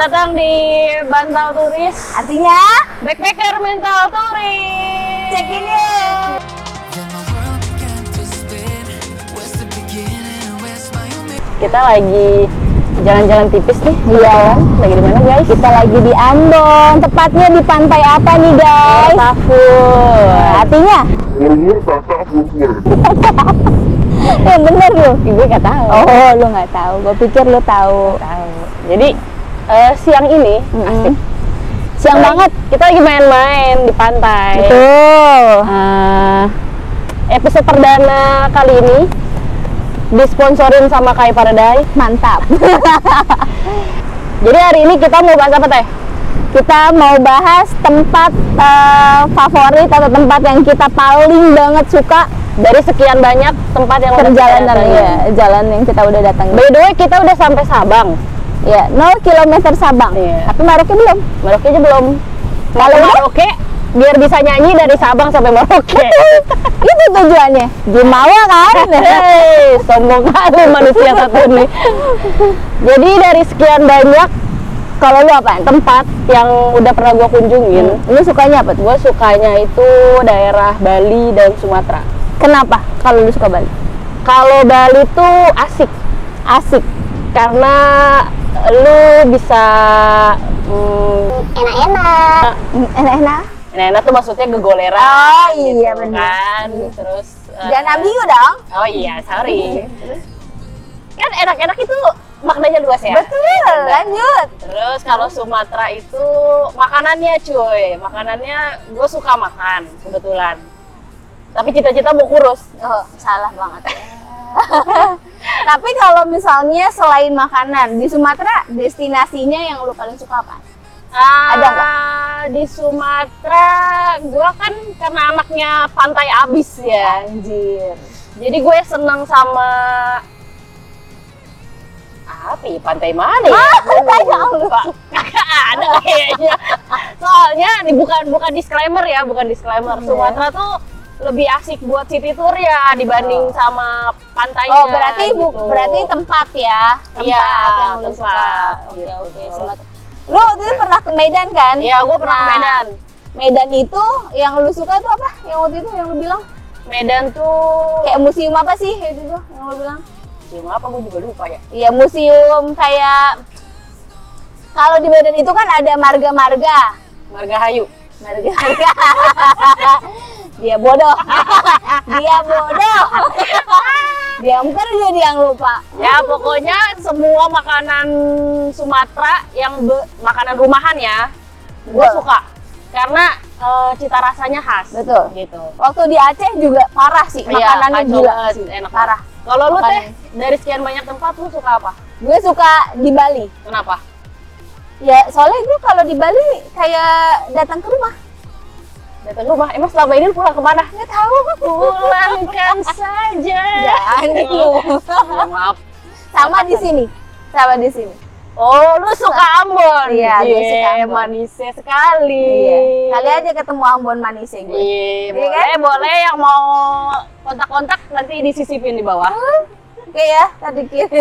datang Iya. di Bantal Turis. Artinya, Backpacker Mental Turis. cek ini. yuk. Then my world began to spin. Where's the beginning? and Where's my own Kita lagi jalan-jalan tipis nih. Iya, Lagi di mana guys? kita lagi di Ambon, tepatnya di pantai apa nih guys? Tafur. Artinya, Ngomong kata vulgar. eh bener lu. Gue nggak tahu. Oh, lu nggak tahu. Gue pikir lu tahu. Tahu. Jadi eh, siang ini asik. Siang Kita- banget. Kita lagi main-main di pantai. Betul. Eh, episode perdana kali ini disponsorin sama Kai Paradise. Mantap. Jadi hari ini kita mau bahas apa teh? kita mau bahas tempat eh, favorit atau tempat yang kita paling banget suka Dari sekian banyak tempat yang udah kita perjalanan datangin. ya, jalan yang kita udah datang. By the way kita udah sampai Sabang. Ya, 0 km Sabang. Iya. Tapi Maroke belum. Merauke aja belum. Kalau Kalau Merauke biar bisa nyanyi dari Sabang sampai Merauke. Itu tujuannya. Jumawa kan? Hei, sombong kali manusia satu ini. Jadi dari sekian banyak kalau lu apa tempat yang udah pernah gua kunjungin, Lu sukanya apa tuh? gua sukanya itu daerah Bali dan Sumatera. Kenapa kalau lu suka Bali? Kalau Bali tuh asik Asik. karena lu bisa hmm, Enak-enak. Eh, Enak-enak. enak tuh maksudnya gegoleran Oh, iya, gitu bener. kan terus eh, Dan ambigu dong. oh iya sorry kan enak-enak itu maknanya luas ya Betul. Lanjut. terus kalau Sumatera itu makanannya cuy makanannya gue suka makan kebetulan tapi cita-cita mau kurus Oh, salah banget. Tapi kalau misalnya selain makanan di Sumatera, destinasinya yang lu paling suka apa? Ah, Ada nggak? di Sumatera gua kan karena anaknya pantai abis ya anjir jadi gue seneng sama apa ya, pantai mana Ah, ya? tanya lu. Pak, Kagak ada kayaknya soalnya ini bukan bukan disclaimer ya bukan disclaimer Iya. Sumatera tuh lebih asik buat city tour ya dibanding sama pantainya Iya. Oh, berarti bu, gitu. berarti tempat ya, tempat Iya, yang lu tempat. suka. Oke, Gitu. oke, Sumatera. Lu waktu itu pernah ke Medan kan? Iya, gue pernah ke Nah, Medan. Medan itu yang lu suka tuh apa? Yang waktu itu yang lu bilang Medan tuh kayak museum apa sih itu tuh yang lu bilang? Museum apa gue juga lupa ya. Iya, museum kayak kalau di Medan itu kan ada marga-marga. Margahayu. Marga-marga. Dia bodoh. Dia bodoh. Dia mungkin jadi yang lupa. Ya pokoknya semua makanan Sumatera yang be- makanan rumahan ya, gue Betul. suka karena eh, cita rasanya khas. Betul. Gitu. Waktu di Aceh juga parah sih, makanannya Iya, kacau gila banget, sih. enak parah. banget. Kalau lu teh Makanan. dari sekian banyak tempat lu suka apa? Gue suka di Bali. Kenapa? Ya, soalnya gue kalau di Bali kayak datang ke rumah. Datang rumah. Emang selama ini lu pulang kemana? Nggak tahu Pulangkan saja. Iya. Jangan lu. Ya, maaf. Sama di sini. Sama di sini. Oh, lu suka Ambon? Iya, gue Cie, suka Ambon. Manisnya sekali. Iya. Kali aja ketemu Ambon manisnya gue. Iya, Iya boleh, kan? boleh yang mau kontak-kontak nanti disisipin di bawah. Oke ya, tadi kiri.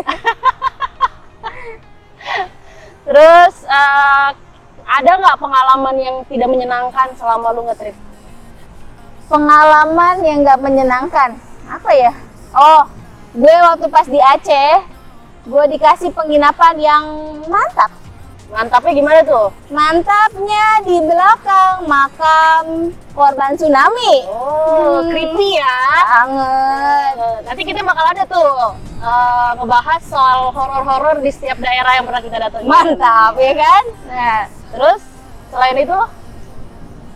Terus eh, ada nggak pengalaman yang tidak menyenangkan selama lu ngetrip? pengalaman yang nggak menyenangkan apa ya oh gue waktu pas di Aceh gue dikasih penginapan yang mantap Mantapnya gimana tuh? mantapnya di belakang makam korban tsunami Oh, Hmm. creepy ya. banget Eh, Nanti kita bakal ada tuh eh, ngebahas soal horor-horor di setiap daerah yang pernah kita datangi. mantap ya kan nah Terus selain itu,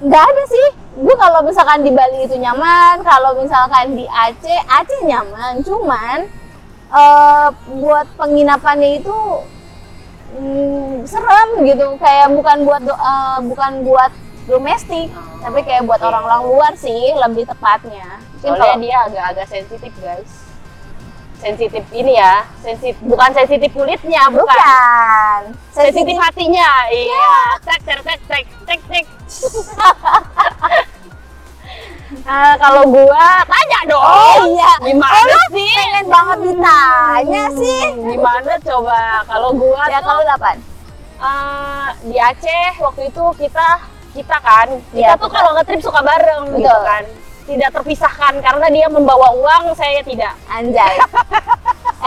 nggak ada sih gue kalau misalkan di Bali itu nyaman kalau misalkan di Aceh Aceh nyaman cuman eh, buat penginapannya itu mm, serem gitu kayak bukan buat do- eh, bukan buat domestik tapi kayak buat orang-orang luar sih lebih tepatnya mungkin soalnya kalau dia agak-agak sensitif guys. Sensitif ini ya, sensitif bukan sensitif kulitnya, bukan. bukan sensitif hatinya iya tek tek tek tek tek tek Ah, kalau gua tanya dong oh iya gimana Oh, lu sih pengen banget ditanya sih gimana coba kalau gua ya tuh kalau 8 eh, di Aceh waktu itu kita kita kan kita Iya, tuh kita. kalau ngetrip suka bareng gitu Betul. kan tidak terpisahkan karena dia membawa uang saya tidak Anjay.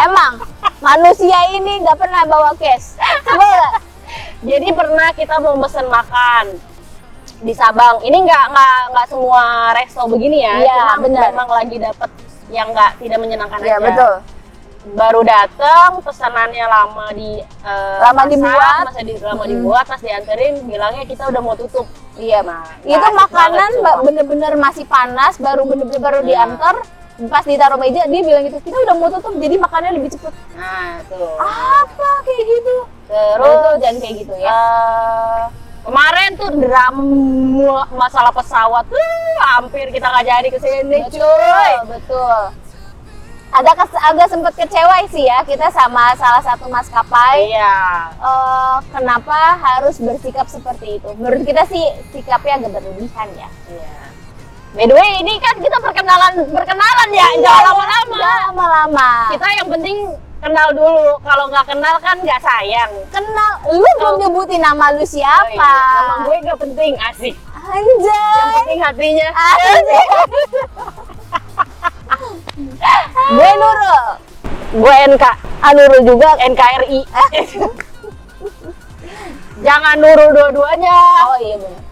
Emang manusia ini nggak pernah bawa cash. Coba nggak? jadi pernah kita mau pesen makan di Sabang ini nggak nggak nggak semua resto begini ya Iya, cuma benar. memang lagi dapet yang nggak tidak menyenangkan Iya aja betul. baru datang pesanannya lama di eh, Lama masak, dibuat. masa di, lama Mm. dibuat pas dianterin bilangnya kita udah mau tutup Iya. Nah, itu asik makanan banget, ba- sumpah. bener-bener masih panas, baru bener-bener baru Nah. diantar, pas ditaruh meja dia bilang gitu kita udah mau tutup jadi makannya lebih cepet. nah tuh Ah, Apa kayak gitu? terus Itu jangan kayak gitu ya. eh, kemarin tuh drama masalah pesawat tuh hampir kita nggak jadi kesini cuy betul. Agak kes- agak sempet kecewa sih ya kita sama salah satu maskapai. iya Eh, kenapa harus bersikap seperti itu? Menurut kita sih sikapnya agak berlebihan ya. iya by the way ini kan kita perkenalan perkenalan ya jangan lama-lama Iya, Nggak lama-lama. kita yang penting kenal dulu kalau nggak kenal kan nggak sayang kenal, lu belum nyebutin nama lu Oh iya, siapa? nama gue nggak penting asik yang Anjay. penting hatinya Anjay. gue Nurul. gue NK Anurul juga NKRI jangan Nurul dua-duanya Iya. Oh iya benar.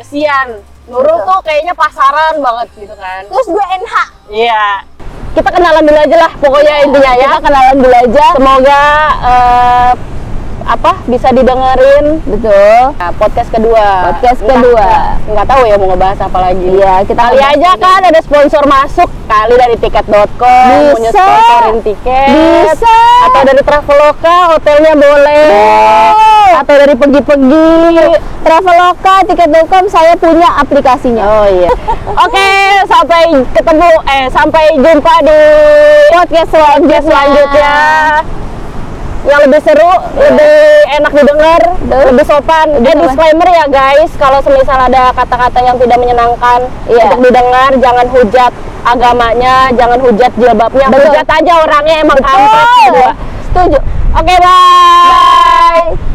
kesian Nurul Betul. tuh kayaknya pasaran banget gitu kan Terus gue NH. iya kita kenalan dulu aja lah pokoknya intinya ya Kita kenalan dulu aja. semoga eh, apa bisa didengerin Betul. Nah, podcast kedua Podcast Entah- kedua. nggak- nggak tahu ya mau ngebahas apa lagi Iya, kita kali ngebahas aja ini. kan ada sponsor masuk kali dari tiket.com punya Bisa. sponsorin tiket Bisa. atau dari traveloka hotelnya boleh Boleh. atau dari pergi-pergi Traveloka, tiket.com saya punya aplikasinya. oh iya oke sampai ketemu eh sampai jumpa di Podcast selanjutnya. podcast selanjutnya Iya. yang lebih seru, lebih enak didengar, lebih sopan. Dan disclaimer ya guys, kalau semisal ada kata-kata yang tidak menyenangkan Iya. untuk didengar, jangan hujat agamanya, jangan hujat jilbabnya, Betul. hujat aja orangnya emang Betul. kampret. Setuju. Oke, bye.